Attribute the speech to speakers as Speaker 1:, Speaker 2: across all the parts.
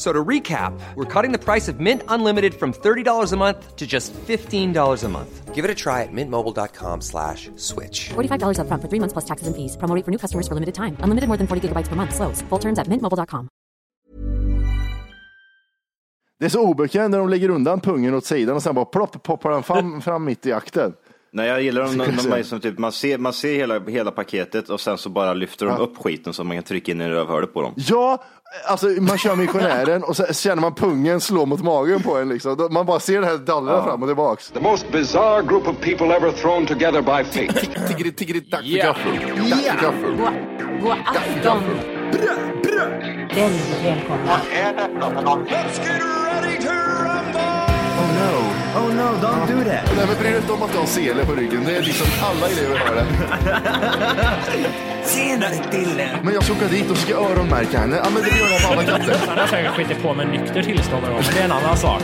Speaker 1: So to recap, we're cutting the price of Mint Unlimited from $30 a month to just $15 a month. Give it a try at mintmobile.com slash switch.
Speaker 2: $45 up front for three months plus taxes and fees. Promote for new customers for limited time. Unlimited more than 40 gigabytes per month. Slows. Full terms at mintmobile.com.
Speaker 3: Det är så obekvämt när de lägger undan pungen åt sidan och sen bara plopp poppar den fram, fram mitt i akten.
Speaker 4: Nej, jag gillar dem
Speaker 3: Ska vi
Speaker 4: de,
Speaker 3: se.
Speaker 4: de är som typ, man ser, man ser hela, hela paketet och sen så bara lyfter de
Speaker 3: Ja.
Speaker 4: upp skiten så man kan trycka in i rövhålet på dem.
Speaker 3: Ja, alltså man kör missionären och så känner man pungen slå mot magen på en liksom. Då- Man bara ser det här dallra fram och tillbaks.
Speaker 5: The most bizarre group of people ever thrown together by fate.
Speaker 3: Tiggeri, tiggeri, tack för gaffel. Tack för gaffel.
Speaker 6: God, god afton. Väldigt välkomna.
Speaker 7: Oh no, oh no, don't do that.
Speaker 3: Nej men bry dig inte om att du har sele på ryggen. Det är liksom alla elever har det.
Speaker 7: Senare killen.
Speaker 3: Men jag ska åka dit och ska öronmärka henne. Ja men det gör jag på alla katter.
Speaker 8: Han har säkert skitit på med nykter tillstånd då, men det är en annan sak.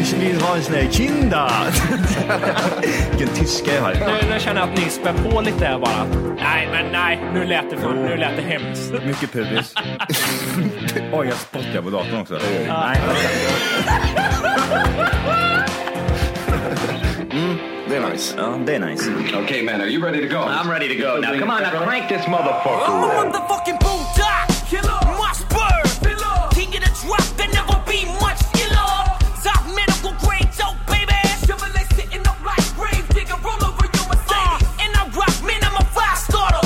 Speaker 7: Ich vill ha en sån här kinda. Vilken tyska jag har.
Speaker 8: Nu, nu känner jag att ni spär på lite här bara. Nej, men nej, nu lät det, för, nu lät det hemskt.
Speaker 9: Mycket pubis. Oj, jag spottar på datorn också. Nej,
Speaker 4: Mm,
Speaker 3: Det är nice.
Speaker 9: ja, det är nice.
Speaker 5: okay, man, are you ready to go?
Speaker 9: I'm ready to go. Now come on, now crank this
Speaker 6: I'm
Speaker 9: motherfucker.
Speaker 6: the fucking bulldog. Killer. My spur. King of the drop. There never be much killer. Top medical grade dope, baby. Chevrolet sitting up like grave digger. Roll over your Mercedes. Uh, and I rock men. I'm a five starter.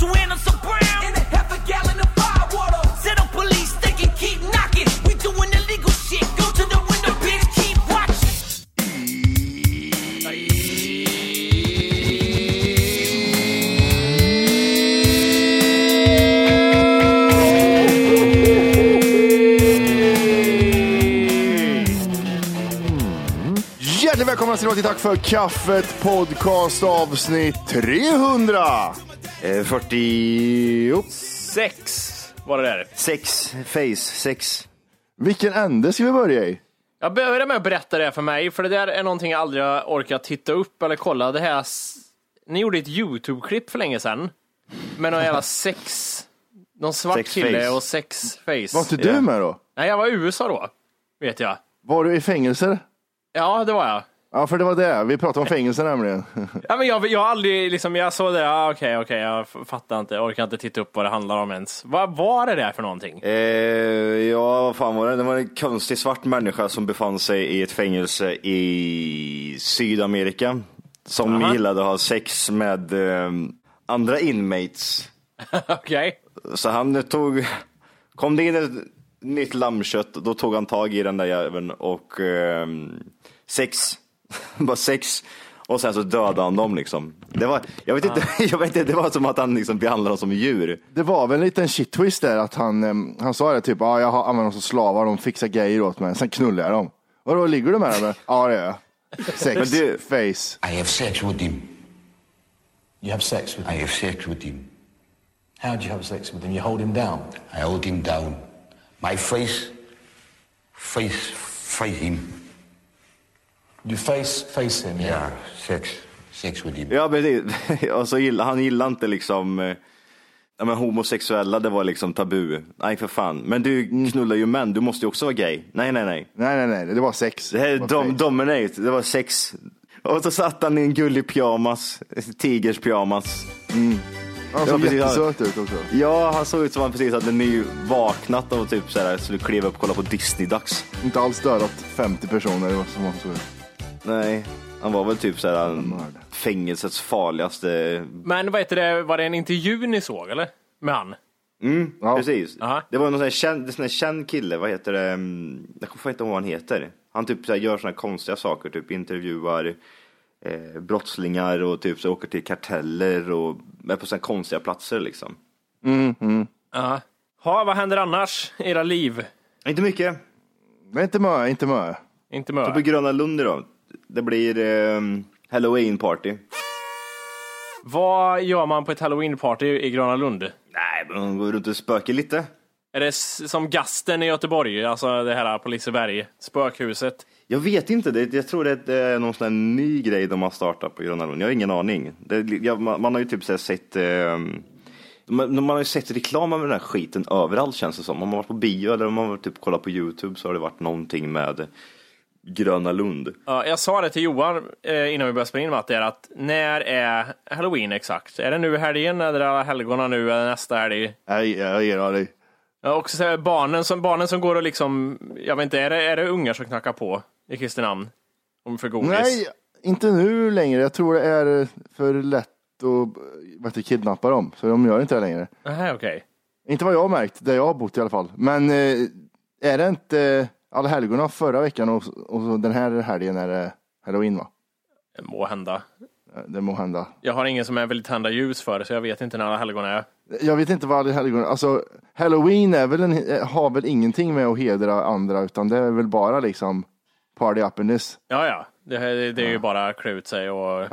Speaker 6: Joanna Brown. And a half a gallon of firewater. Set up police. They can keep knocking. We doing illegal shit. Go to the window, bitch. Keep watching.
Speaker 3: Hjärtligt välkomna ska ni vara till Tack för kaffet podcast avsnitt 300.
Speaker 4: Eh, 46
Speaker 8: Sex var det där.
Speaker 4: face, sex.
Speaker 3: Vilken ände ska vi börja i?
Speaker 8: Jag började med att berätta det här för mig, för det där är någonting jag aldrig har orkat titta upp eller kolla. Det här... s- Ni gjorde ett YouTube-klipp för länge sedan. Med någon jävla sex... Någon svart
Speaker 4: Sex
Speaker 8: kille
Speaker 4: face.
Speaker 8: och sex face.
Speaker 3: Var inte du
Speaker 4: Ja.
Speaker 3: med då?
Speaker 8: Nej, jag var i USA då. Vet jag.
Speaker 3: Var du i fängelse?
Speaker 8: Ja, det var jag.
Speaker 3: Ja, för det var det. Vi pratade om fängelse nämligen.
Speaker 8: Ja, men jag, jag har aldrig, liksom, jag såg det, ja, okej, okej, jag f- fattar inte, jag orkar inte titta upp vad det handlar om ens. Vad var det där för någonting?
Speaker 4: Eh, ja, vad fan var det? Det var en konstig svart människa som befann sig i ett fängelse i Sydamerika. Som
Speaker 8: Aha.
Speaker 4: gillade att ha sex med eh, andra inmates.
Speaker 8: Okej?
Speaker 4: Så han tog, kom det in ett nytt lammkött, då tog han tag i den där jäveln och eh, sex, bara sex. Och sen så dödade han dem liksom. Det var, jag vet inte, jag vet inte, det var som att han liksom behandlade dem som djur.
Speaker 3: Det var väl en liten shit twist där att han, em, han sa det typ, ah, jag har- använder dem som slavar, de fixar grejer åt mig, sen knullar jag dem. Vadå, ligger du med dem? eller?" Ja, det gör jag.
Speaker 4: Men
Speaker 3: Sex,
Speaker 4: du-
Speaker 3: face.
Speaker 5: I have sex with him. You have sex with him? I have sex with him. How do you have sex with him? You hold him down? I hold him down. My face, face, face him. You face, face him? Yeah, sex, sex with him.
Speaker 4: Ja, men det, och så gill, han gillade inte liksom, eh, ja, men homosexuella, det var liksom tabu. Nej för fan, men du knullar ju män, du måste ju också vara gay. Nej, nej, nej.
Speaker 3: Nej, nej, nej, det var sex.
Speaker 4: Det här är
Speaker 3: var
Speaker 4: dom,
Speaker 3: face.
Speaker 4: Dominate, det var sex. Och så satt han i en gullig pyjamas, tigers pyjamas.
Speaker 3: Han
Speaker 4: Ja,
Speaker 3: såg
Speaker 4: precis, ja.
Speaker 3: jättesöt ut också.
Speaker 4: Ja, han såg ut som han precis hade nyvaknat och typ så här skulle kliva upp och kolla på Disney-dags.
Speaker 3: Inte alls dödat 50 personer som han såg ut.
Speaker 4: Nej, han var väl typ så här en-
Speaker 3: Mörd.
Speaker 4: fängelsets farligaste.
Speaker 8: Men vad heter det, var det en intervju ni såg eller? med han?
Speaker 4: Mm, precis. Det var någon sån här känd, sån här känd kille, vad heter det? Mm, Jag kommer fan inte ihåg vad han heter. Han typ så här gör såna här konstiga saker, typ intervjuar eh, brottslingar och typ så åker till karteller och är på såna här konstiga platser liksom.
Speaker 3: Mm, mm.
Speaker 8: Ja. Ha, vad händer annars i era liv?
Speaker 4: Inte mycket.
Speaker 3: Men inte mö, inte mö.
Speaker 8: Inte
Speaker 4: Så på
Speaker 8: Möre.
Speaker 4: Gröna Lund idag. Det blir ehm, halloween party.
Speaker 8: Vad gör man på ett halloweenparty i Gröna Lund?
Speaker 4: Nej, men de går runt och spökar lite.
Speaker 8: Är det s- som Gasten i Göteborg, alltså det här på Liseberg, spökhuset?
Speaker 4: Jag vet inte, det, jag tror det är någon sån här ny grej de har startat på Gröna Lund. Jag har ingen aning. Det, jag, man, man har ju typ så här sett ehm, man, man har ju sett reklamen med den här skiten överallt känns det som. Om man har varit på bio eller om man har typ kollat på Youtube så har det varit någonting med Gröna Lund.
Speaker 8: Ja, jag sa det till Johan eh, innan vi började spela in Matt, det är att när är halloween exakt? Är det nu i helgen eller är det helgona nu eller nästa helg?
Speaker 3: Nej, jag ger dig.
Speaker 8: Ja, också så här, barnen, som, barnen som går och liksom, jag vet inte, är det, är det ungar som knackar på i Kristinehamn? Om för godis?
Speaker 3: Nej, inte nu längre. Jag tror det är för lätt att vad heter, det, kidnappa dem, så de gör inte det längre.
Speaker 8: Nähä, okej.
Speaker 3: Inte vad jag har märkt, där jag har bott i alla fall. Men eh, är det inte allhelgona förra veckan och, och så den här helgen är det halloween va?
Speaker 8: Det må hända.
Speaker 3: Det må hända.
Speaker 8: Jag har ingen som jag vill tända ljus för, så jag vet inte när alla helgon är.
Speaker 3: Jag vet inte vad allhelgona, alltså halloween är väl en, har väl ingenting med att hedra andra utan det är väl bara liksom party up in this,
Speaker 8: Ja, ja. Det, det, det är ju bara att klä ut sig och,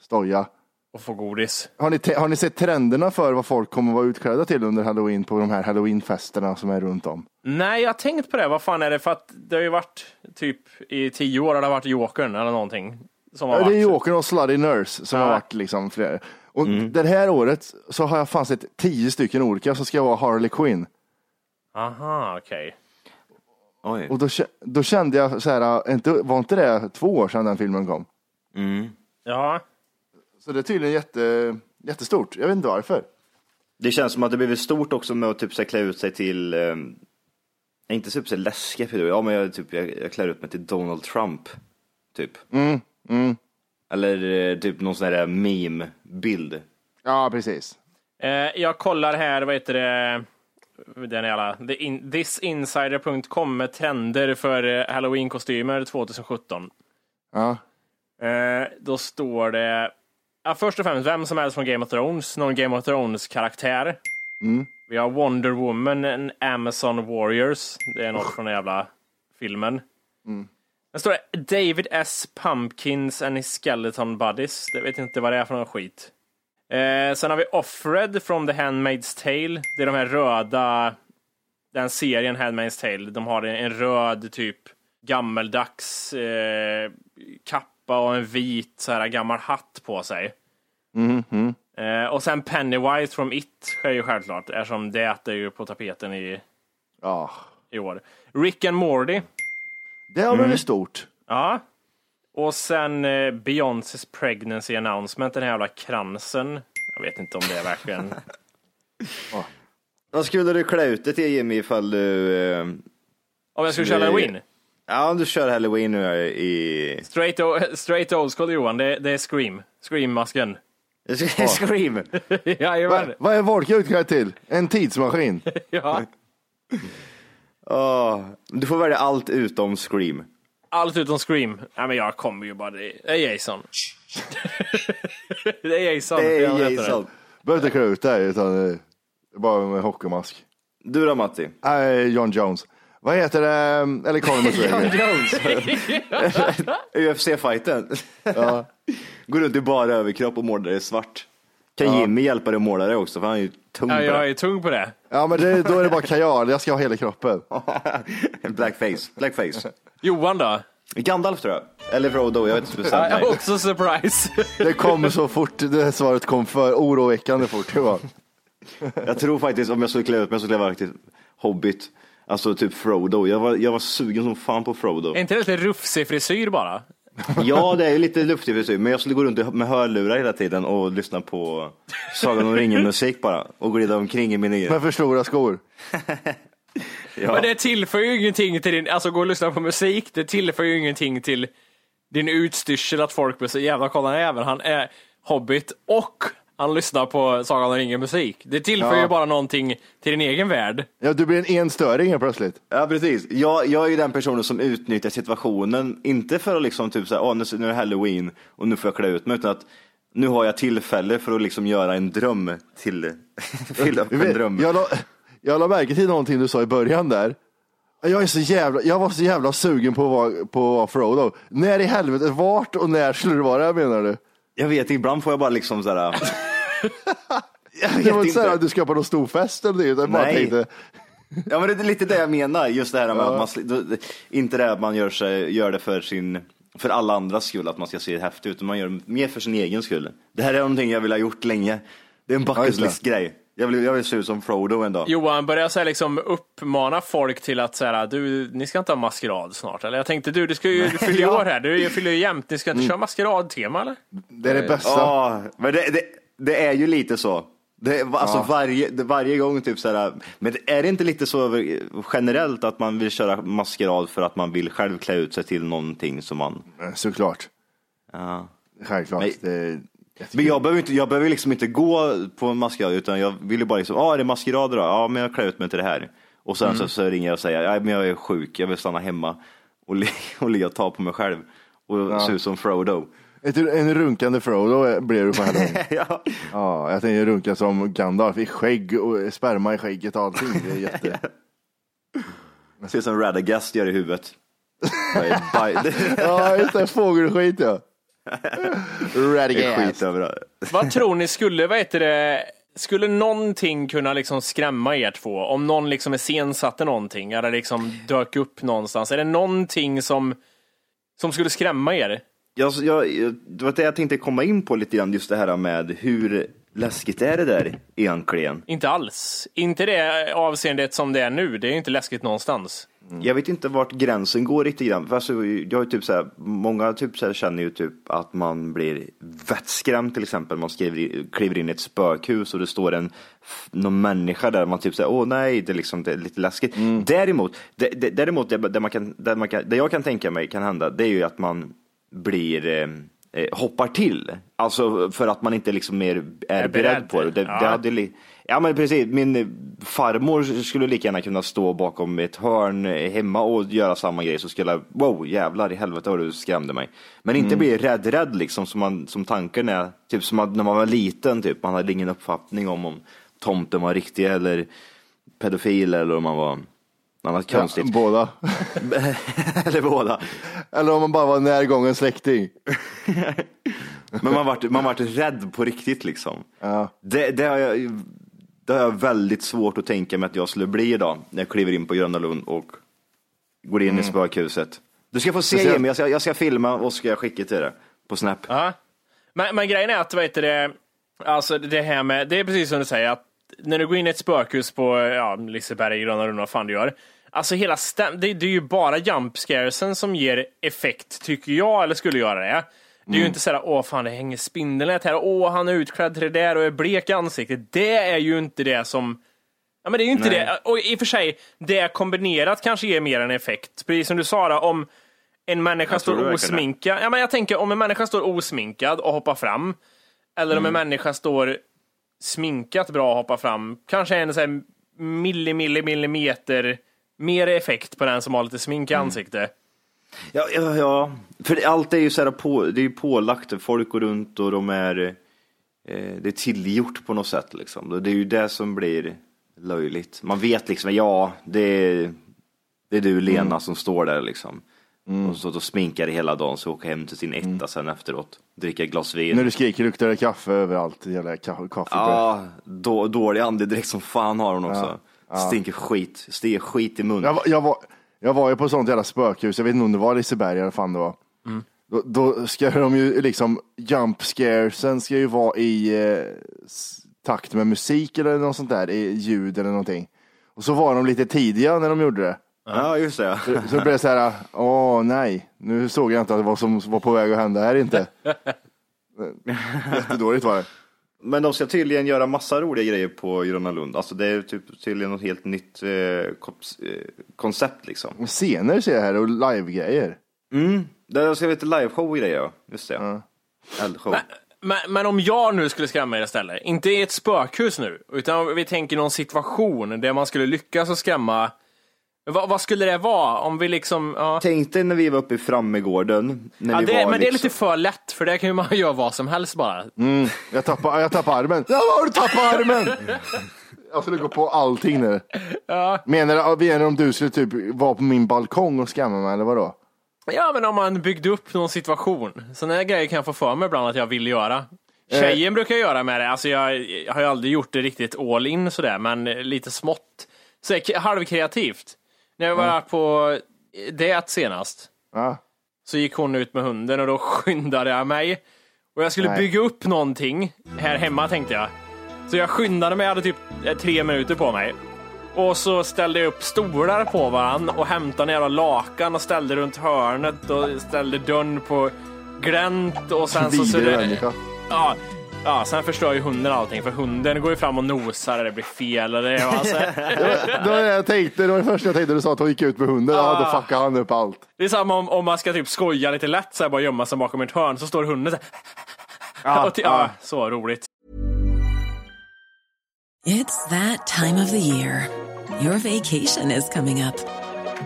Speaker 3: stoja.
Speaker 8: och få godis.
Speaker 3: Har ni, te- har ni sett trenderna för vad folk kommer vara utklädda till under halloween på de här halloweenfesterna som är runt om?
Speaker 8: Nej, jag har tänkt på det. Vad fan är det? För att det har ju varit typ i tio år har det varit Jokern eller någonting. Som har
Speaker 3: Ja, Det är
Speaker 8: varit.
Speaker 3: Jokern och Slutty Nurse som har varit liksom flera. Och det här året så har jag fan sett tio stycken olika som ska vara Harley Quinn.
Speaker 8: Aha, okej.
Speaker 4: Oj.
Speaker 3: Och då, kä- då kände jag så här, äh, inte, var inte det två år sedan den filmen kom?
Speaker 8: Ja.
Speaker 3: Så det är tydligen jätte, jättestort. Jag vet inte varför.
Speaker 4: Det känns som att det blivit stort också med att typ så här klä ut sig till, ehm, inte typ så här läskiga figurer, ja men jag, typ, jag, jag klär ut mig till Donald Trump, typ. Eller eh, typ någon sån här meme-bild.
Speaker 3: Ja, precis.
Speaker 8: Eh, jag kollar här, vad heter det? Den jävla, the in, thisinsider.com med trender för eh, halloween-kostymer 2017.
Speaker 3: Ja.
Speaker 8: Eh, då står det, ja, först och främst, vem som helst från Game of Thrones, någon Game of Thrones-karaktär. Vi har Wonder Woman, en Amazon Warriors, det är något från den jävla filmen. Mm. Sen står det David S. Pumpkins and his Skeleton Buddies. Det vet inte vad det är för någon skit. Eh, sen har vi Offred från The Handmaid's Tale. Det är de här röda, den serien Handmaid's Tale. De har en, en röd typ gammeldags eh, kappa och en vit så här gammal hatt på sig. Eh, och sen Pennywise från It är ju självklart, eftersom det är ju på tapeten i,
Speaker 3: ja.
Speaker 8: i år. Rick and Morty.
Speaker 3: Det har blivit stort.
Speaker 8: Ja. Och sen eh, Beyoncés pregnancy announcement, den här jävla kransen. Jag vet inte om det är verkligen...
Speaker 4: Vad skulle du klä ut dig till Jimmy ifall du... Eh,
Speaker 8: Om jag skulle köra
Speaker 4: Det-
Speaker 8: halloween?
Speaker 4: ja, om du kör halloween nu här i...
Speaker 8: Straight, o- straight old school Johan, det, det är Scream. Scream-masken.
Speaker 4: Scream!
Speaker 3: Va,
Speaker 8: Jajamän.
Speaker 3: vad är Volke utklädd till? En tidsmaskin?
Speaker 8: Ja.
Speaker 4: Åh, du får välja allt utom Scream.
Speaker 8: Allt utom Scream. Nej men jag kommer ju bara... Det är Jason. det är Jason.
Speaker 4: Det
Speaker 8: Jag
Speaker 4: är
Speaker 8: vet inte.
Speaker 4: Jason.
Speaker 3: Behöver inte klä ut dig utan eh, bara med hockeymask.
Speaker 4: Du då Matti?
Speaker 3: Nej, John Jones. Vad heter det? Eller Conor McGregor.
Speaker 4: Jones! UFC-fighten. Går runt i bara överkropp och målar dig svart. Kan Jimmy hjälpa dig att måla dig också? För han är ju tung på
Speaker 8: Ja, jag
Speaker 4: det.
Speaker 8: är tung på det.
Speaker 3: Ja, men det, då är det bara kajal. Jag ska ha hela kroppen.
Speaker 4: Blackface. Blackface.
Speaker 8: Johan då?
Speaker 4: Gandalf tror jag. Eller Frodo, jag vet inte bestämt.
Speaker 8: Jag är
Speaker 4: Nej.
Speaker 8: också surprise.
Speaker 3: Det kom så fort, det här svaret kom för oroväckande fort. Det var.
Speaker 4: Jag tror faktiskt, om jag skulle klä ut mig så skulle jag vara riktigt hobbit. Alltså typ Frodo. Jag var, jag var sugen som fan på Frodo.
Speaker 8: är inte det lite rufsig frisyr bara?
Speaker 4: Ja, det är ju lite luftig frisyr, men jag skulle gå runt med hörlurar hela tiden och lyssna på Sagan om ringen-musik bara och glida omkring i min egen.
Speaker 3: Med för stora skor.
Speaker 4: Ja.
Speaker 8: Men det tillför ju ingenting till din, alltså gå och lyssna på musik, det tillför ju ingenting till din utstyrsel att folk blir så jävla kolla även han är hobbit och Han lyssnar på Sagan om ringen musik. Det tillför
Speaker 3: Ja.
Speaker 8: ju bara någonting till din egen värld.
Speaker 3: Ja, du blir en enstöring helt plötsligt.
Speaker 4: Ja precis. Jag, jag är ju den personen som utnyttjar situationen, inte för att liksom typ såhär, åh nu, nu är det halloween och nu får jag klä ut mig, utan att nu har jag tillfälle för att liksom göra en dröm till, fylla upp
Speaker 3: Jag
Speaker 4: en
Speaker 3: vet-
Speaker 4: dröm.
Speaker 3: Jag la, jag la märke till någonting du sa i början där. Jag, är så jävla, jag var så jävla sugen på att vara, på att vara Frodo. När i helvete, vart och när skulle det vara menar du?
Speaker 4: Jag vet, ibland får jag bara liksom såhär,
Speaker 3: Det var inte så här
Speaker 4: inte.
Speaker 3: att du ska på någon stor fest eller någonting, utan jag bara
Speaker 4: Nej.
Speaker 3: tänkte,
Speaker 4: ja men det är lite det jag menar, just det här med att man, sli- då- inte det att man gör, sig, gör det för sin för alla andras skull, att man ska se häftig ut, utan man gör det mer för sin egen skull. Det här är någonting jag vill ha gjort länge. Det är en
Speaker 3: Ja,
Speaker 4: bucket
Speaker 3: just det.
Speaker 4: list-grej. Jag vill, jag vill se ut som Frodo en dag.
Speaker 8: Johan börjar så här liksom uppmana folk till att så här, du, ni ska inte ha maskerad snart. Eller jag tänkte du, du ska ju du fyller ju
Speaker 4: Ja.
Speaker 8: år här, du fyller ju jämt, ni ska inte köra maskeradtema eller?
Speaker 3: det är det bästa.
Speaker 4: Ja, men det, det, det är ju lite så. Det, är- alltså varje, det, varje gång typ så här, men är det inte lite så över- generellt att man vill köra maskerad för att man vill själv klä ut sig till någonting som man...
Speaker 3: Såklart,
Speaker 4: Ja.
Speaker 3: självklart.
Speaker 4: Nej.
Speaker 3: Det,
Speaker 4: Men jag behöver, inte, jag behöver liksom inte gå på en maskerad utan jag vill ju bara liksom, ja ah, är det maskerad då? Ja men jag klär ut mig till det här. Och sen så, så ringer jag och säger, nej men jag är sjuk, jag vill stanna hemma och, li- och ligga och ta på mig själv och se ut som Frodo.
Speaker 3: Ett- en runkande Frodo blir du på halloween.
Speaker 4: ja.
Speaker 3: Ja, jag tänker runka som Gandalf i skägg och eh, sperma i skägget och allting. Det är jätte...
Speaker 4: Se ut som Radagast gör i huvudet. Jag är baj-
Speaker 3: ja, just det, fågelskit ja.
Speaker 4: Det är
Speaker 3: Radagast.
Speaker 4: skit överallt.
Speaker 8: Vad tror ni skulle, vad heter det, skulle någonting kunna liksom skrämma er två? Om någon liksom iscensatte någonting eller liksom dök upp någonstans. Är det någonting som, som skulle skrämma er?
Speaker 4: Jag, jag, jag- det var det jag tänkte komma in på lite grann, just det här med hur läskigt är det där egentligen?
Speaker 8: Inte alls. Inte det avseendet som det är nu. Det är ju inte läskigt någonstans.
Speaker 4: Mm. Jag vet inte vart gränsen går riktigt grann. För alltså, jag har ju typ så här, många typ så här känner ju typ att man blir vettskrämd till exempel. Man skriver, i- kliver in i ett spökhus och det står en f- någon människa där. Man typ säger åh nej, det är, liksom, det är lite läskigt. Däremot, det, det, däremot det, det, man kan, det, man kan, det jag kan tänka mig kan hända, det är ju att man blir eh, eh, hoppar till, alltså för att man inte liksom är, är, beredd
Speaker 8: beredd.
Speaker 4: på det. det,
Speaker 8: Ja.
Speaker 4: det hade li- ja men precis, min eh, farmor skulle lika gärna kunna stå bakom ett hörn eh, hemma och göra samma grej så skulle jag, wow jävlar i helvete vad du skrämde mig. Men inte bli rädd rädd liksom som, man, som tanken är, typ som att när man var liten typ, man hade ingen uppfattning om om tomten var riktig eller pedofil eller om man var något annat
Speaker 3: Ja,
Speaker 4: konstigt.
Speaker 3: båda.
Speaker 4: eller båda.
Speaker 3: Eller om man bara var en närgången släkting.
Speaker 4: Men man vart, man vart rädd på riktigt liksom. Det, det, har jag, det har jag väldigt svårt att tänka mig att jag skulle bli idag när jag kliver in på Gröna Lund och går in i spökhuset. Du Mm. ska få se
Speaker 3: Speciellt-
Speaker 4: Jimmy, jag ska, jag ska filma och ska jag skicka till dig på Snap.
Speaker 8: Ja. Men, men grejen är att, vad heter det, alltså det här med, det är precis som du säger, att när du går in i ett spökhus på ja, Liseberg, Gröna Lund, vad fan du gör. Alltså hela stäm- det, det är ju bara jump scaresen som ger effekt, tycker jag, eller skulle göra det. Det är ju inte såhär, åh fan det hänger spindelnät här, åh han är utklädd till det där och är blek i ansiktet. Det är ju inte det som Ja, men det är ju inte det. Och i och för sig, det kombinerat kanske ger mer en effekt. Precis som du sa, då, om en människa
Speaker 4: tror det
Speaker 8: står
Speaker 4: verkligen är.
Speaker 8: osminkad. Ja, men jag tänker om en människa står osminkad och hoppar fram, eller om en
Speaker 4: Mm.
Speaker 8: människa står sminkat bra och hoppar fram, kanske en så här milli, milli, millimeter mer effekt på den som har lite smink
Speaker 4: Mm.
Speaker 8: i ansiktet.
Speaker 4: Ja, ja, ja. för det- allt är ju så här på, det är ju pålagt, folk går runt och de är, eh, det är tillgjort på något sätt liksom. Och Det är ju det som blir löjligt. Man vet liksom, ja, det är, det är du Lena
Speaker 3: Mm.
Speaker 4: som står där liksom. Och så då sminkar det hela dagen, så åker hem till sin etta sen efteråt, dricka ett glas vin.
Speaker 3: Mm. När du skriker luktar det kaffe överallt. Jävla ka- kaffe.
Speaker 4: Ja, då, dålig andedräkt som fan har hon också. Stinker skit, stiger skit i munnen.
Speaker 3: Jag, var- jag, var, jag var ju på ett sånt jävla spökhus, jag vet inte om det var Liseberg eller fan det var. Då, då ska de ju liksom, jump scaresen ska ju vara i eh, s- takt med musik eller något sånt där, i ljud eller någonting. Och så var de lite tidiga när de gjorde det.
Speaker 4: Ja, just det. ja.
Speaker 3: Så det blev så här, åh nej, nu såg jag inte att vad som var på väg att hända här inte. Jättedåligt var det.
Speaker 4: Men de ska tydligen göra massa roliga grejer på Gröna Lund. Alltså det är typ, tydligen något helt nytt eh, kops- eh, koncept liksom.
Speaker 3: Och Scener ser jag här och live-grejer.
Speaker 4: Mm. Där ska vi till liveshow och grejer, ja. Just det. Eldshow.
Speaker 8: Men, men om jag nu skulle skrämma er istället, inte i ett spökhus nu, utan om vi tänker någon situation där man skulle lyckas att skrämma. Vad, vad skulle det vara? Om vi liksom... Ja.
Speaker 4: Tänk dig när vi var uppe i Frammegården. När
Speaker 8: Ja,
Speaker 4: vi
Speaker 8: det,
Speaker 4: var
Speaker 8: men det är
Speaker 4: liksom...
Speaker 8: lite för lätt, för där kan ju man göra vad som helst bara.
Speaker 3: Mm, jag tappar jag tappar armen. Ja, vad har du tappat armen? Jag skulle gå på allting nu. Menar du- menar du om du skulle typ vara på min balkong och skamma mig eller vadå?
Speaker 8: Ja, men om man byggde upp någon situation. Sådana här grejer kan jag få för mig ibland att jag vill göra. Tjejen brukar göra med det. Alltså jag, jag har ju aldrig gjort det riktigt all in sådär, men lite smått. Så här, k- halvkreativt. När jag var på det senast
Speaker 3: Ja.
Speaker 8: så gick hon ut med hunden och då skyndade jag mig. Och jag skulle
Speaker 3: Nej.
Speaker 8: bygga upp någonting här hemma tänkte jag. Så jag skyndade mig, jag hade typ eh, tre minuter på mig. Och så ställde jag upp stolar på varann och hämtade en jävla lakan och ställde runt hörnet och ställde dörren på glänt och sen så... så
Speaker 3: Vidrig
Speaker 8: det,
Speaker 3: människa.
Speaker 8: ja, ja, sen förstör ju hunden allting för hunden går ju fram och nosar och det blir fel. Och det, alltså,
Speaker 3: Det var det jag tänkte, det var det första jag tänkte du sa att hon gick ut med hunden. Ja, då fuckar han upp allt.
Speaker 8: det är samma om, om man ska typ skoja lite lätt så här, bara gömma sig bakom ett hörn så står hunden så här. och ty- ja, så roligt.
Speaker 10: It's that time of the year. Your vacation is coming up.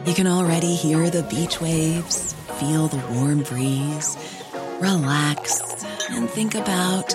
Speaker 10: You can already hear the beach waves, feel the warm breeze, relax, and think about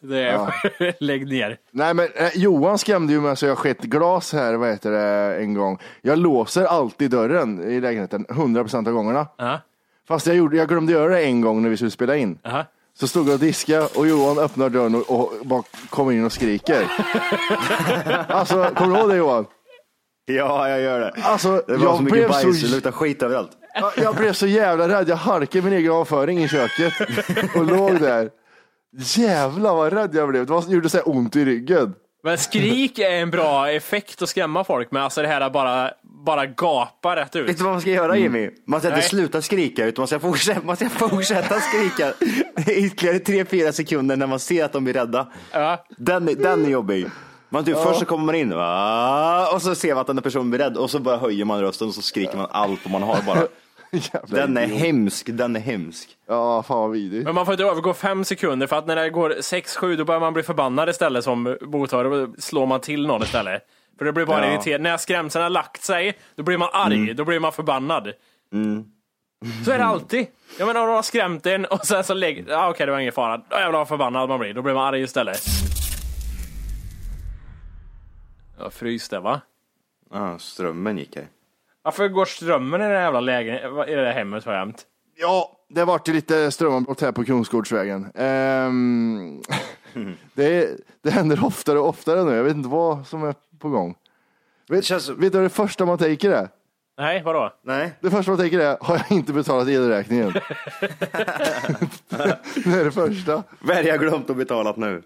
Speaker 8: Det är, Lägg ner.
Speaker 3: Nej men eh, Johan skrämde ju mig så jag skett glas här, vad heter det, en gång. Jag låser alltid dörren i lägenheten, 100% av gångerna.
Speaker 8: Ja.
Speaker 3: Fast jag, gjorde, jag glömde göra det en gång när vi skulle spela in.
Speaker 8: Aha.
Speaker 3: Så stod jag och diskade och Johan öppnar dörren och, och bara kommer in och skriker. alltså, kommer du ihåg det Johan?
Speaker 4: Ja, jag gör det.
Speaker 3: Alltså,
Speaker 4: det var
Speaker 3: jag
Speaker 4: så mycket
Speaker 3: blev så-
Speaker 4: bajs, det luktar skit överallt.
Speaker 3: Jag, jag blev så jävla rädd, jag harkade min egen avföring i köket och låg där. Jävlar vad rädd jag blev, det var, gjorde så här ont i ryggen.
Speaker 8: Men skrik är en bra effekt att skrämma folk med. Alltså det här att bara, bara gapa rätt ut.
Speaker 4: Vet du vad man ska göra Jimmy? Man ska inte
Speaker 8: Nej.
Speaker 4: sluta skrika utan man ska fortsätta, man ska fortsätta skrika ytterligare 3-4 sekunder när man ser att de blir rädda.
Speaker 8: Ja.
Speaker 4: Den, är- den är jobbig. Man typ, Först så kommer man in va? och så ser man att den här personen blir rädd och så bara höjer man rösten och så skriker man allt man har bara.
Speaker 3: Jävla
Speaker 4: Den är
Speaker 3: idiot.
Speaker 4: hemsk, den är hemsk.
Speaker 3: Ja, fan vad vidrigt.
Speaker 8: Men man får inte övergå fem sekunder för att när det går 6-7 då börjar man bli förbannad istället som botar. Då slår man till någon istället. För det blir bara
Speaker 4: Ja.
Speaker 8: irriterad. När skrämseln har lagt sig, då blir man arg. Då blir man förbannad. Så är det alltid. Jag menar om de har skrämt en och sen så lägger... Ah, Okej, det var ingen fara. Då jävlar vad förbannad man blir. Då blir man arg istället. Ja, frys det va?
Speaker 4: Ah, strömmen gick här.
Speaker 8: Varför går strömmen i det här jävla lägen, i det här hemmet så jämt?
Speaker 3: Ja, det vart ju lite strömavbrott här på Kungsgårdsvägen. Ehm, det, det händer oftare och oftare nu. Jag vet inte vad som är på gång. Vet,
Speaker 4: känns-
Speaker 3: vet du vad det första man tänker är?
Speaker 8: Nej, vadå?
Speaker 4: Nej.
Speaker 3: Det första man tänker är, har jag inte betalat elräkningen? det är det första.
Speaker 4: Vad är det jag glömt att betala nu?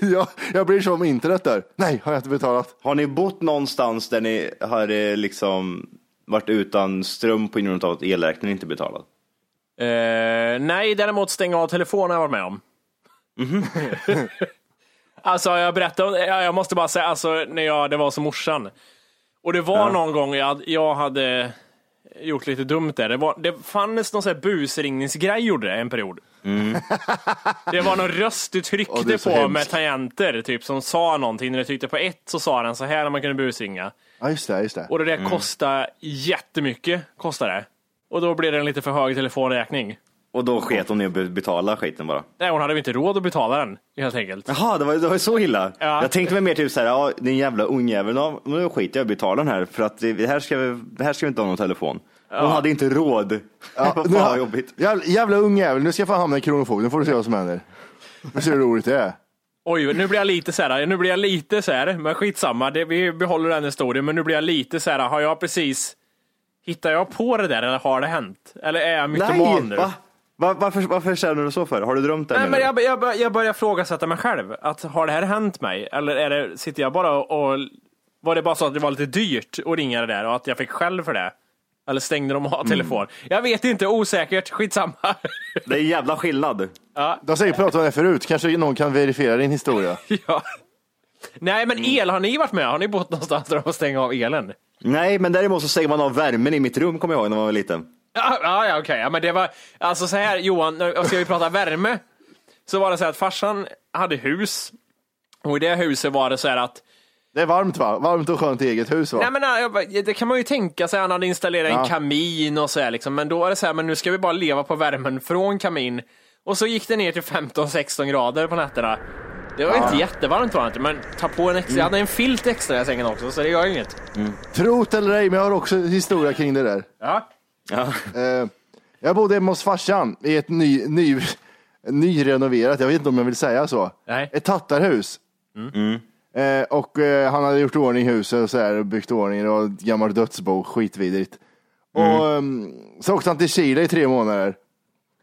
Speaker 3: Jag, jag blir som internet där. Nej, har jag inte betalat?
Speaker 4: Har ni bott någonstans där ni har eh, liksom varit utan ström på grund av att elräkningen inte betalad?
Speaker 8: Eh, nej, däremot stänga av telefonen har jag varit med om.
Speaker 3: Mm-hmm.
Speaker 8: alltså, jag berättar om- jag jag måste bara säga, alltså, när jag, det var som morsan. Och det var någon gång jag, jag hade gjort lite dumt där. Det, var, det fanns någon sån här busringningsgrej gjorde det en period. det var någon röst du tryckte
Speaker 3: Mm. Åh, det är så
Speaker 8: på med
Speaker 3: hemskt.
Speaker 8: tangenter, typ, som sa någonting. När du tryckte på ett så sa den så här när man kunde busringa.
Speaker 3: Ja, just det. Just det.
Speaker 8: Och det där kostade jättemycket. Kostade det. Och då blev det en lite för hög telefonräkning.
Speaker 4: Och då sket hon i att be- betala skiten bara.
Speaker 8: Nej, hon hade väl inte råd att betala den helt enkelt.
Speaker 4: Jaha, det var, det var så illa.
Speaker 8: Ja.
Speaker 4: Jag tänkte mig mer typ så här, ja, din jävla ungjävel, ja, nu skiter jag i att betala den här för att det, det här ska vi, det här ska vi inte ha någon telefon. Hon hade inte råd.
Speaker 3: Ja,
Speaker 4: Vad
Speaker 3: nu-
Speaker 4: fan vad jobbigt.
Speaker 3: Jävla, jävla ung jävel, nu ska jag fan hamna i Kronofogden, nu får du se vad som händer. Nu ser du hur roligt det är.
Speaker 8: Oj, nu blir jag lite så här, nu blir jag lite så här, men skitsamma, det, vi behåller den historien, men nu blir jag lite så här, har jag precis, hittar jag på det där eller har det hänt? Eller är jag mytoman nu?
Speaker 4: va? Va, varför, varför känner du så för? Har du drömt det?
Speaker 8: Nej,
Speaker 4: menar
Speaker 8: men
Speaker 4: du?
Speaker 8: jag, jag, bör- jag börjar frågasätta mig själv. Att, har det här hänt mig? Eller är det, sitter jag bara och... Var det bara så att det var lite dyrt att ringa det där och att jag fick skäll för det? Eller stängde de av telefon? Jag vet inte, osäkert. Skitsamma.
Speaker 4: Det är en jävla skillnad.
Speaker 3: De har säkert pratat om det förut, kanske någon kan verifiera din historia.
Speaker 8: ja. Nej, men el, har ni varit med? Har ni bott någonstans där de får stänga av elen?
Speaker 4: Nej, men däremot så stänger man av värmen i mitt rum kommer jag ihåg när man var liten.
Speaker 8: Ja, ja, ja okej. Ja, men det var, alltså så här Johan, nu ska vi prata värme? Så var det så här att farsan hade hus. Och i det huset var det så här att
Speaker 3: Det är varmt va? Varmt och skönt i eget hus va?
Speaker 8: Nej, men, nej, jag bara- det kan man ju tänka sig. Han hade installerat en
Speaker 3: Ja.
Speaker 8: kamin och så här, liksom. men då är det så här, men nu ska vi bara leva på värmen från kamin. Och så gick det ner till 15-16 grader på nätterna. Det var inte jättevarmt var det inte, men ta på en extra. Jag hade en filt extra i sängen också, så det gör inget.
Speaker 3: Trot eller ej, men jag har också historia kring det där.
Speaker 8: Ja.
Speaker 4: Ja.
Speaker 3: Eh, jag bodde hemma hos farsan i ett ny, ny, nyrenoverat, jag vet inte om jag vill säga så,
Speaker 8: Nej.
Speaker 3: ett tattarhus. Eh, och eh, han hade gjort i ordning huset och så här, och byggt i ordning det var ett gammalt dödsbo, skitvidrigt. Och ehm, så åkte han till Chile i tre månader.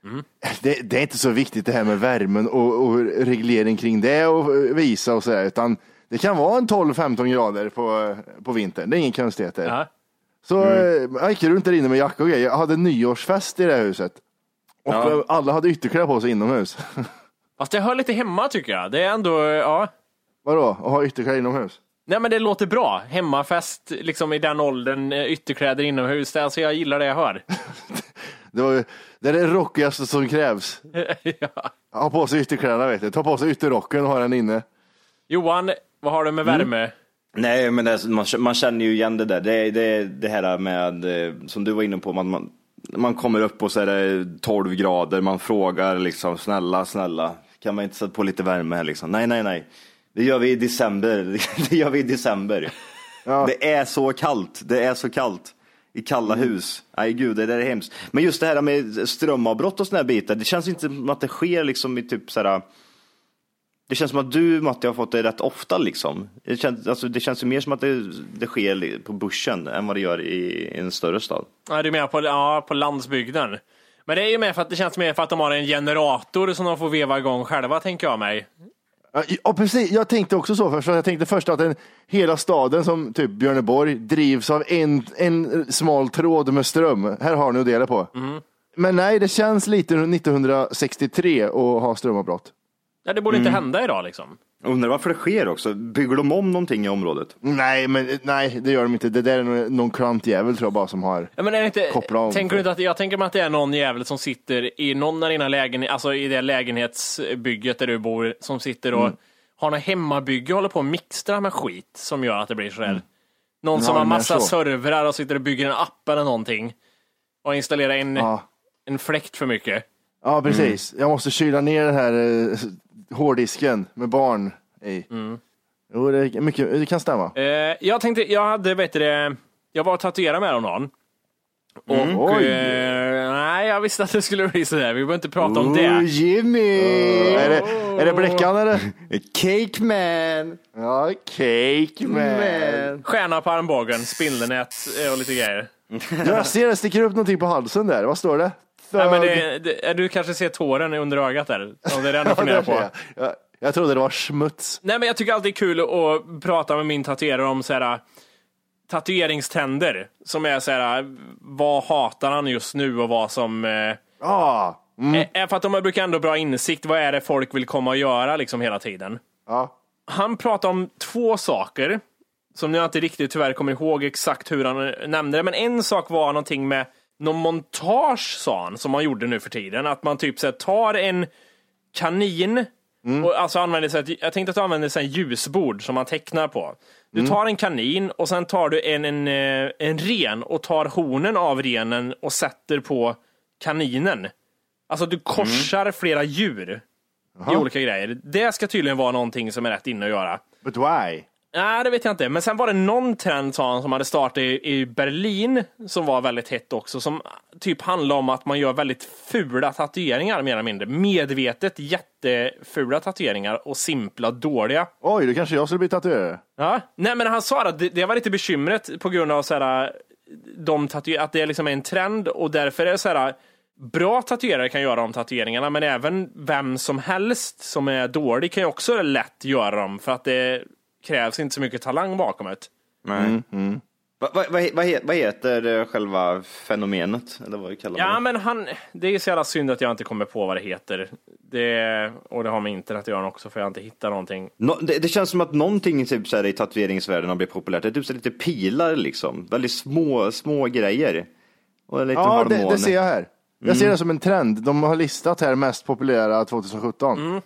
Speaker 8: Mm.
Speaker 3: Det, det är inte så viktigt det här med värmen och, och reglering kring det och visa och sådär, utan det kan vara en 12-15 grader på, på vintern. Det är ingen konstigheter.
Speaker 8: Ja.
Speaker 3: Så eh, jag gick runt där inne med jacka och grejer. Jag hade nyårsfest i det här huset. Och eh,
Speaker 4: Ja.
Speaker 3: alla hade ytterkläder på sig inomhus.
Speaker 8: Fast det hör lite hemma tycker jag. Det är ändå, ja.
Speaker 3: Vadå, att ha ytterkläder inomhus?
Speaker 8: Nej men det låter bra. Hemmafest, liksom i den åldern, eh, ytterkläder inomhus. Det- Alltså jag gillar det jag hör.
Speaker 3: Det, var, ju- det är det rockigaste som krävs.
Speaker 8: ja.
Speaker 3: Ha på sig ytterkläderna vet du. Ta på sig ytterrocken och ha den inne.
Speaker 8: Johan, vad har du med värme?
Speaker 4: Nej, men det, man, man känner ju igen det där. Det, det, det här med, eh, som du var inne på, man, man, man kommer upp och så är det 12 grader, man frågar liksom snälla, snälla, kan man inte sätta på lite värme här liksom? Nej, nej, nej, det gör vi i december. Det gör vi i december. Det är så kallt, det är så kallt. I kalla hus. Nej gud, det där är hemskt. Men just det här med strömavbrott och såna här bitar, det känns inte som att det sker liksom i typ så här det känns som att du Matti har fått det rätt ofta liksom. Det känns, alltså, det känns ju mer som att det, det sker li- på börsen än vad det gör i en större stad.
Speaker 8: Ja, du menar på, ja, på landsbygden. Men det är ju mer för att det känns mer för att de har en generator som de får veva igång själva, tänker jag mig.
Speaker 3: Ja, Ja, precis. Jag tänkte också så först. Jag tänkte först att den, hela staden som typ Björneborg drivs av en, en smal tråd med ström. Här har ni att dela på. Men nej, det känns lite 1963 att ha strömavbrott.
Speaker 8: Ja, det borde inte hända idag liksom.
Speaker 4: Undrar varför det sker också. Bygger de om någonting i området?
Speaker 3: Nej, men nej, det gör de inte. Det där är nog någon klantjävel tror jag bara som har.
Speaker 8: Ja, men är det inte,
Speaker 3: Koppla om.
Speaker 8: tänker du inte att, jag tänker mig att det är någon jävel som sitter i någon av dina lägen, alltså i det lägenhetsbygget där du bor, som sitter och
Speaker 3: Mm.
Speaker 8: har något hemmabygge och håller på och mixtrar med skit som gör att det blir sådär. Någon som
Speaker 3: Mm. Ja,
Speaker 8: har
Speaker 3: men
Speaker 8: massa
Speaker 3: så.
Speaker 8: servrar och sitter och bygger en app eller någonting. Och installerar en,
Speaker 3: Ja,
Speaker 8: en fläkt för mycket. Mm.
Speaker 3: ja precis. Jag måste kyla ner den här eh, hårddisken med barn i.
Speaker 8: Mm.
Speaker 3: Jo, det, är mycket, det kan stämma.
Speaker 8: Eh, jag tänkte, jag hade, vet du det, jag var och tatuerade mig häromdagen. Och,
Speaker 3: Mm. Oj.
Speaker 8: eh, nej, jag visste att det skulle bli sådär. Vi behöver inte prata om det. Oh.
Speaker 4: Jimmy!
Speaker 3: Oh, Är det, är det bläckan eller?
Speaker 4: Cake man!
Speaker 3: Ja,
Speaker 8: Mm,
Speaker 3: cake man.
Speaker 8: Stjärna på armbågen, spindelnät eh, och lite grejer.
Speaker 3: Ja, Jag ser det sticker upp någonting på halsen där. Vad står det?
Speaker 8: Nej, men det, det, du kanske ser tåren under ögat där. Om det är den du
Speaker 3: Ja,
Speaker 8: funderar
Speaker 3: där
Speaker 8: på.
Speaker 3: ser jag. Jag, jag trodde det var smuts.
Speaker 8: Nej, men jag tycker alltid det är kul att prata med min tatuerare om så här, tatueringständer. Som är så här, äh, vad hatar han just nu och vad som... Eh,
Speaker 3: Ah, mm,
Speaker 8: Eh, För att de brukar ändå bra insikt. Vad är det folk vill komma och göra liksom hela tiden?
Speaker 3: ja.
Speaker 8: Han pratar om två saker som jag inte riktigt tyvärr kommer ihåg exakt hur han eh, nämnde det. Men en sak var någonting med någon montage sa han, som man gjorde nu för tiden. Att man typ så här, tar en kanin och alltså använder sig, av ett- jag tänkte att du använder sig av en ljusbord som man tecknar på. Du tar en kanin och sen tar du en, en, eh, en ren och tar hornen av renen och sätter på kaninen. Alltså du korsar flera djur i olika grejer. Det ska tydligen vara någonting som är rätt inne att göra.
Speaker 3: But why?
Speaker 8: Nej, det vet jag inte. Men sen var det någon trend sa han, som hade startat i, i Berlin som var väldigt hett också, som typ handlade om att man gör väldigt fula tatueringar mer eller mindre. Medvetet jättefula tatueringar och simpla, dåliga.
Speaker 3: Oj, då kanske jag skulle bli tatuerare.
Speaker 8: Ja. Nej, men han sa att det, det var lite bekymret på grund av så här, de tatu- att det liksom är en trend och därför är det så här, bra tatuerare kan göra de tatueringarna, men även vem som helst som är dålig kan ju också lätt göra dem för att det krävs inte så mycket talang bakom det.
Speaker 4: Nej. Va- va- Vad he- vad he- vad heter eh, själva fenomenet? Eller vad kallar man
Speaker 8: Ja,
Speaker 4: det?
Speaker 8: men han, det är så jävla synd att jag inte kommer på vad det heter. Det, och det har med internet att göra också, för jag har inte hittat någonting.
Speaker 4: Nå- det, det känns som att någonting typ, så här, i tatueringsvärlden har blivit populärt. Det är typ så här, lite pilar liksom. Väldigt små, små grejer. Och en liten
Speaker 3: Ja,
Speaker 4: harmon.
Speaker 3: det, det ser jag här. Jag ser
Speaker 4: Mm.
Speaker 3: det som en trend. De har listat här mest populära 2017.
Speaker 4: Mm.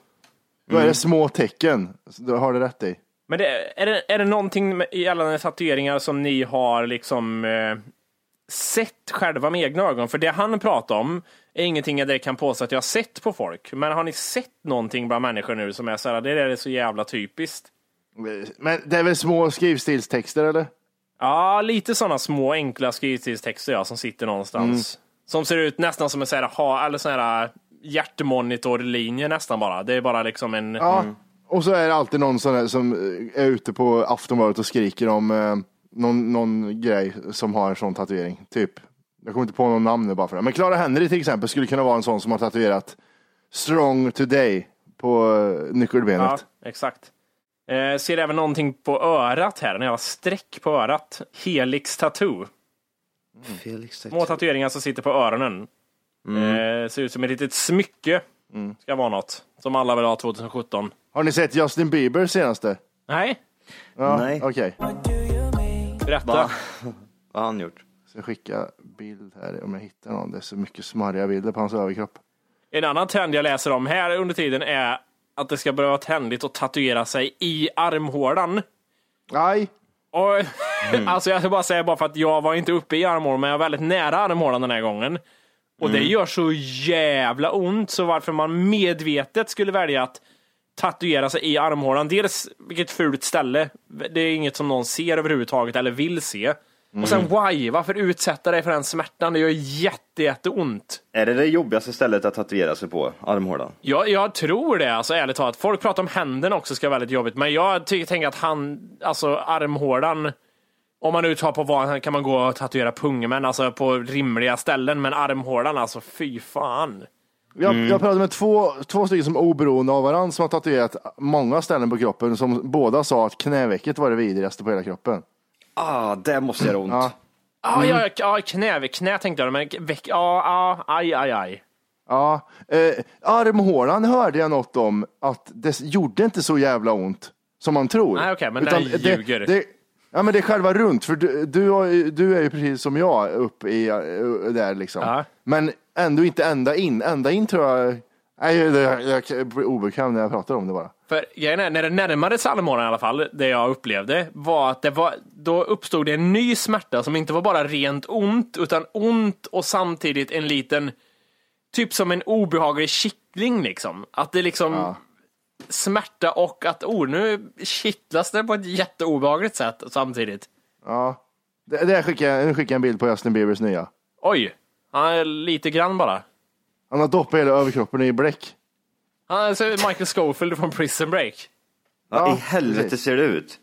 Speaker 3: Då är det små tecken. Så Du har det rätt i.
Speaker 8: Men det, är, det, är det någonting med- gällande tatueringar som ni har liksom eh, sett själva med egna ögon? För det han pratar om är ingenting jag direkt kan påstå att jag har sett på folk. Men har ni sett någonting bland människor nu som är så här, det där är så jävla typiskt?
Speaker 3: Men det är väl små skrivstilstexter eller?
Speaker 8: Ja, lite sådana små enkla skrivstilstexter ja, som sitter någonstans. Som ser ut nästan som en sån här, ha, eller sån här eh, hjärtmonitorlinje nästan bara. Det är bara liksom en...
Speaker 3: Ja. Och så är det alltid någon sån här som eh, är ute på Aftonbladet och skriker om eh, någon, någon grej som har en sån tatuering. Typ. Jag kommer inte på någon namn nu bara för det. Men Clara Henry till exempel skulle kunna vara en sån som har tatuerat Strong Today på eh,
Speaker 8: ja,
Speaker 3: nyckelbenet.
Speaker 8: exakt. Eh, ser även någonting på örat här, en jävla streck på örat. Helix tattoo.
Speaker 4: Felix,
Speaker 8: Små tatueringar som sitter på öronen. Eh, ser ut som ett litet smycke. Ska vara något. Som alla vill ha 2017.
Speaker 3: Har ni sett Justin Bieber senaste?
Speaker 8: Nej,
Speaker 3: Ja,
Speaker 4: Nej.
Speaker 3: Okej.
Speaker 8: berätta.
Speaker 4: Va? Vad har han gjort?
Speaker 3: Så jag skicka bild här om jag hittar någon. Det är så mycket smarriga bilder på hans överkropp.
Speaker 8: En annan trend jag läser om här under tiden är att det ska börja vara trendigt att tatuera sig i armhålan.
Speaker 3: Aj!
Speaker 8: Och, alltså jag ska bara säga bara för att jag var inte uppe i armhålan, men jag var väldigt nära armhålan den här gången. Och det gör så jävla ont, så varför man medvetet skulle välja att tatuera sig i armhålan. Dels vilket fult ställe, det är inget som någon ser överhuvudtaget eller vill se. Och sen why? Varför utsätta dig för den smärtan? Det gör jätte, jätteont.
Speaker 4: Är det det jobbigaste stället att tatuera sig på? Armhålan?
Speaker 8: Jag, jag tror det, alltså, ärligt talat. Folk pratar om händerna också ska vara väldigt jobbigt, men jag ty- tänker att han, alltså armhålan, om man nu tar på vad kan man gå och tatuera pungmän, alltså på rimliga ställen, men armhålan, alltså fy fan.
Speaker 3: Jag, jag pratade med två, två stycken som är oberoende av varandra som har tatuerat många ställen på kroppen som båda sa att knävecket var det vidrigaste på hela kroppen.
Speaker 4: Ah, det måste göra ont.
Speaker 3: Ja.
Speaker 8: Ah, ja, ja, knä, knä tänkte jag, men veck, ja, ja, aj, aj, aj.
Speaker 3: Ja, eh, armhålan hörde jag något om att det gjorde inte så jävla ont som man tror.
Speaker 8: Nej, okej, men den ljuger.
Speaker 3: Det, det, ja, men det är själva runt, för du, du, har ju- du är ju precis som jag upp i eh, där liksom.
Speaker 8: Ja.
Speaker 3: Men ändå inte ända in. Ända in tror jag, nej, jag, jag blir obekväm när jag pratar om det bara.
Speaker 8: För grejen är, när det närmade sig armhålan i alla fall, det jag upplevde, var att det var, då uppstod det en ny smärta som inte var bara rent ont, utan ont och samtidigt en liten, typ som en obehaglig kittling liksom. Att det liksom, smärta och att, oh, nu kittlas det på ett jätteobehagligt sätt samtidigt.
Speaker 3: Ja. Det, det här skickar jag, nu skickar jag en bild på Justin Biebers nya.
Speaker 8: Oj, han är lite grann bara.
Speaker 3: Han har doppat hela överkroppen i bläck.
Speaker 8: Han ser ut Michael Scofield från Prison Break.
Speaker 4: Vad
Speaker 3: Ja,
Speaker 4: i helvete
Speaker 3: precis.
Speaker 4: ser det ut?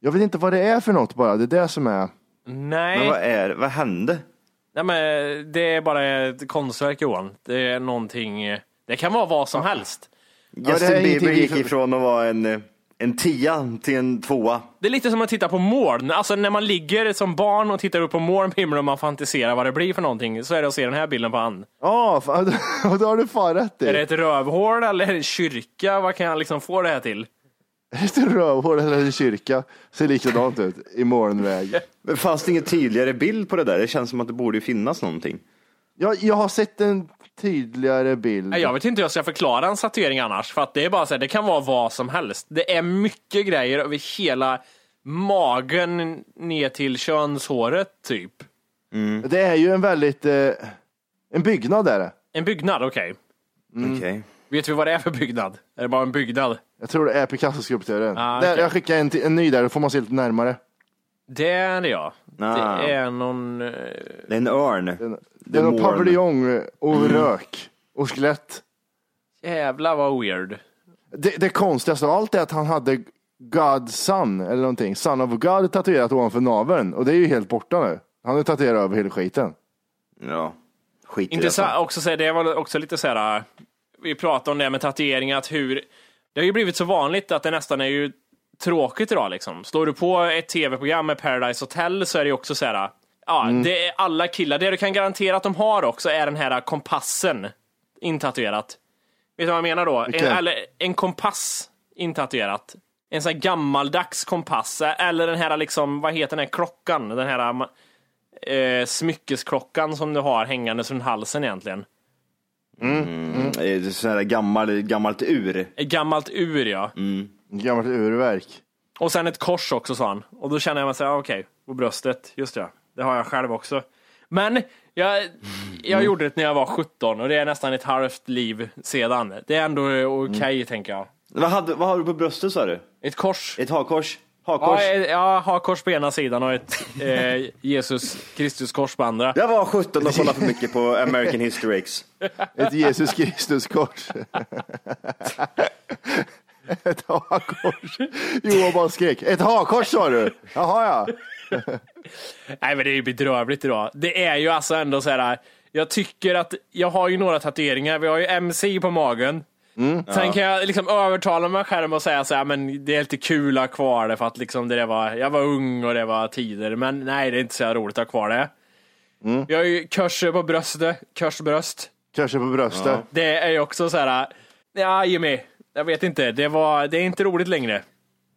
Speaker 3: Jag vet inte vad det är för något bara, det är det som är.
Speaker 8: Nej.
Speaker 4: Men vad, är, vad hände?
Speaker 8: Nej, men eh, det är bara ett konstverk Johan. Det är någonting, eh, det kan vara vad som helst.
Speaker 3: det är
Speaker 4: Justin
Speaker 3: ingenting
Speaker 4: Bieber
Speaker 3: vi-
Speaker 4: gick ifrån att vara en, eh, en tia till en tvåa.
Speaker 8: Det är lite som att titta på moln. Alltså när man ligger som barn och tittar upp på moln på himlen och man fantiserar vad det blir för någonting så är det att se den här bilden på han.
Speaker 3: Ja, fan, då har du fan rätt i.
Speaker 8: Är det ett rövhål eller en kyrka? Vad kan jag liksom få det här till?
Speaker 3: Ett rövhål eller en kyrka ser likadant ut i morgonväg.
Speaker 4: Men fanns det ingen tydligare bild på det där? Det känns som att det borde ju finnas någonting.
Speaker 3: Jag, jag har sett en tydligare bild.
Speaker 8: Nej, Jag vet inte hur jag ska förklara en tatuering annars, för att det är bara så här, det kan vara vad som helst. Det är mycket grejer över hela magen ner till könshåret, typ.
Speaker 3: Det är ju en väldigt, eh, en byggnad är det.
Speaker 8: En byggnad, okej.
Speaker 3: Mm.
Speaker 4: Okej.
Speaker 8: Vet vi vad det är för byggnad? Är det bara en byggnad?
Speaker 3: Jag tror det är Picasso-skulpturen.
Speaker 8: Ah,
Speaker 3: Där,
Speaker 8: okej.
Speaker 3: Jag skickar en, till- en ny där, då får man se lite närmare.
Speaker 8: Det är det ja.
Speaker 4: Ah.
Speaker 8: Det är någon... eh,
Speaker 4: Det är en örn.
Speaker 3: Det är någon
Speaker 4: morn.
Speaker 3: paviljong och
Speaker 8: Mm.
Speaker 3: rök och skelett.
Speaker 8: Jävlar vad weird.
Speaker 3: Det, det konstigaste av allt är att han hade God Son eller någonting, Son of God tatuerat ovanför naveln och det är ju helt borta nu. Han har tatuerat över hela skiten.
Speaker 4: Ja, skit i det.
Speaker 8: Intressant också, så här, det var också lite så här. äh, Vi pratade om det här med tatueringar, att hur... Det har ju blivit så vanligt att det nästan är ju tråkigt idag liksom. Slår du på ett tv-program med Paradise Hotel så är det ju också så här. äh, Ja, det är alla killar. Det du kan garantera att de har också är den här äh, kompassen intatuerat. Vet du vad jag menar då? En,
Speaker 3: Vilken?
Speaker 8: eller, en kompass intatuerat. En sån här gammaldags kompass. Eller den här liksom, vad heter den här klockan? Den här ma- eh, smyckesklockan som du har hängandes runt halsen egentligen.
Speaker 4: Mm. Det är sån här gammal, gammalt ur.
Speaker 8: Ett gammalt ur ja.
Speaker 3: Gammalt urverk.
Speaker 8: Och sen ett kors också sa han. Och då känner jag mig såhär, ah, okej, på bröstet, just det. Det har jag själv också. Men jag, jag gjorde det när jag var 17 och det är nästan ett halvt liv sedan. Det är ändå eh, okej tänker jag.
Speaker 4: Vad, hade, vad har du på bröstet sa du?
Speaker 8: Ett kors.
Speaker 4: Ett hakkors?
Speaker 8: Ja,
Speaker 4: Hakkors?
Speaker 8: eh, ja, ha kors på ena sidan och ett eh, Jesus Kristus kors på andra.
Speaker 4: Jag var 17 och kollade för mycket på American History X.
Speaker 3: Ett Jesus Kristus-kors. Ett hakors. Johan bara skrek. Ett hakors sa du? Jaha ja.
Speaker 8: Nej men det är ju bedrövligt idag. Det är ju alltså ändå så här. Jag tycker att jag har ju några tatueringar. Vi har ju MC på magen. Sen kan jag liksom övertala mig själv och säga så här, men det är lite kul att ha kvar det för att liksom det där var, jag var ung och det var tider. Men nej, det är inte så jävla roligt att ha kvar det. Vi har ju kurser på bröstet, kursbröst.
Speaker 3: Kanske på bröstet.
Speaker 8: Det är ju också så här, ja Jimmy, jag vet inte, det, var, det är inte roligt längre.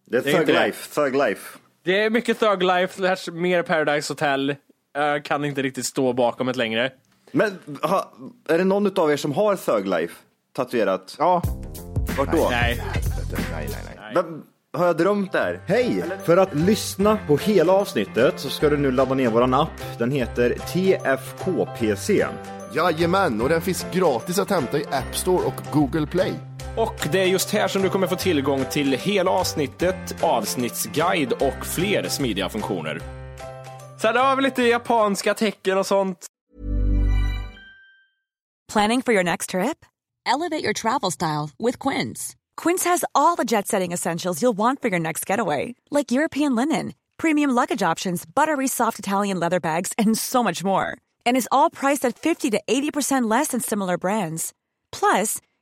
Speaker 4: Det är
Speaker 8: är
Speaker 4: Thug
Speaker 8: inte det.
Speaker 4: Life. Thug Life.
Speaker 8: Det är mycket Thug Life, slash mer Paradise Hotel. Jag kan inte riktigt stå bakom det längre.
Speaker 4: Men ha, är det någon utav er som har Thug Life tatuerat?
Speaker 3: Ja.
Speaker 4: Vart då?
Speaker 8: Nej.
Speaker 4: Vem, har jag drömt det här?
Speaker 11: Hej! För att lyssna på hela avsnittet så ska du nu ladda ner våran app. Den heter TFKPC.
Speaker 3: Jajamän, och den finns gratis att hämta i App Store och Google Play.
Speaker 12: Och det är just här som du kommer få tillgång till hela avsnittet, avsnittsguide och fler smidiga funktioner.
Speaker 8: Sen har vi lite japanska tecken och sånt.
Speaker 13: Planning for your next trip? Elevate your travel style with Quince. Quince has all the jet setting essentials you'll want for your next getaway, like European linen, premium luggage options, buttery soft Italian leather bags, and so much more. And is all priced at 50 to 80% less than similar brands. Plus,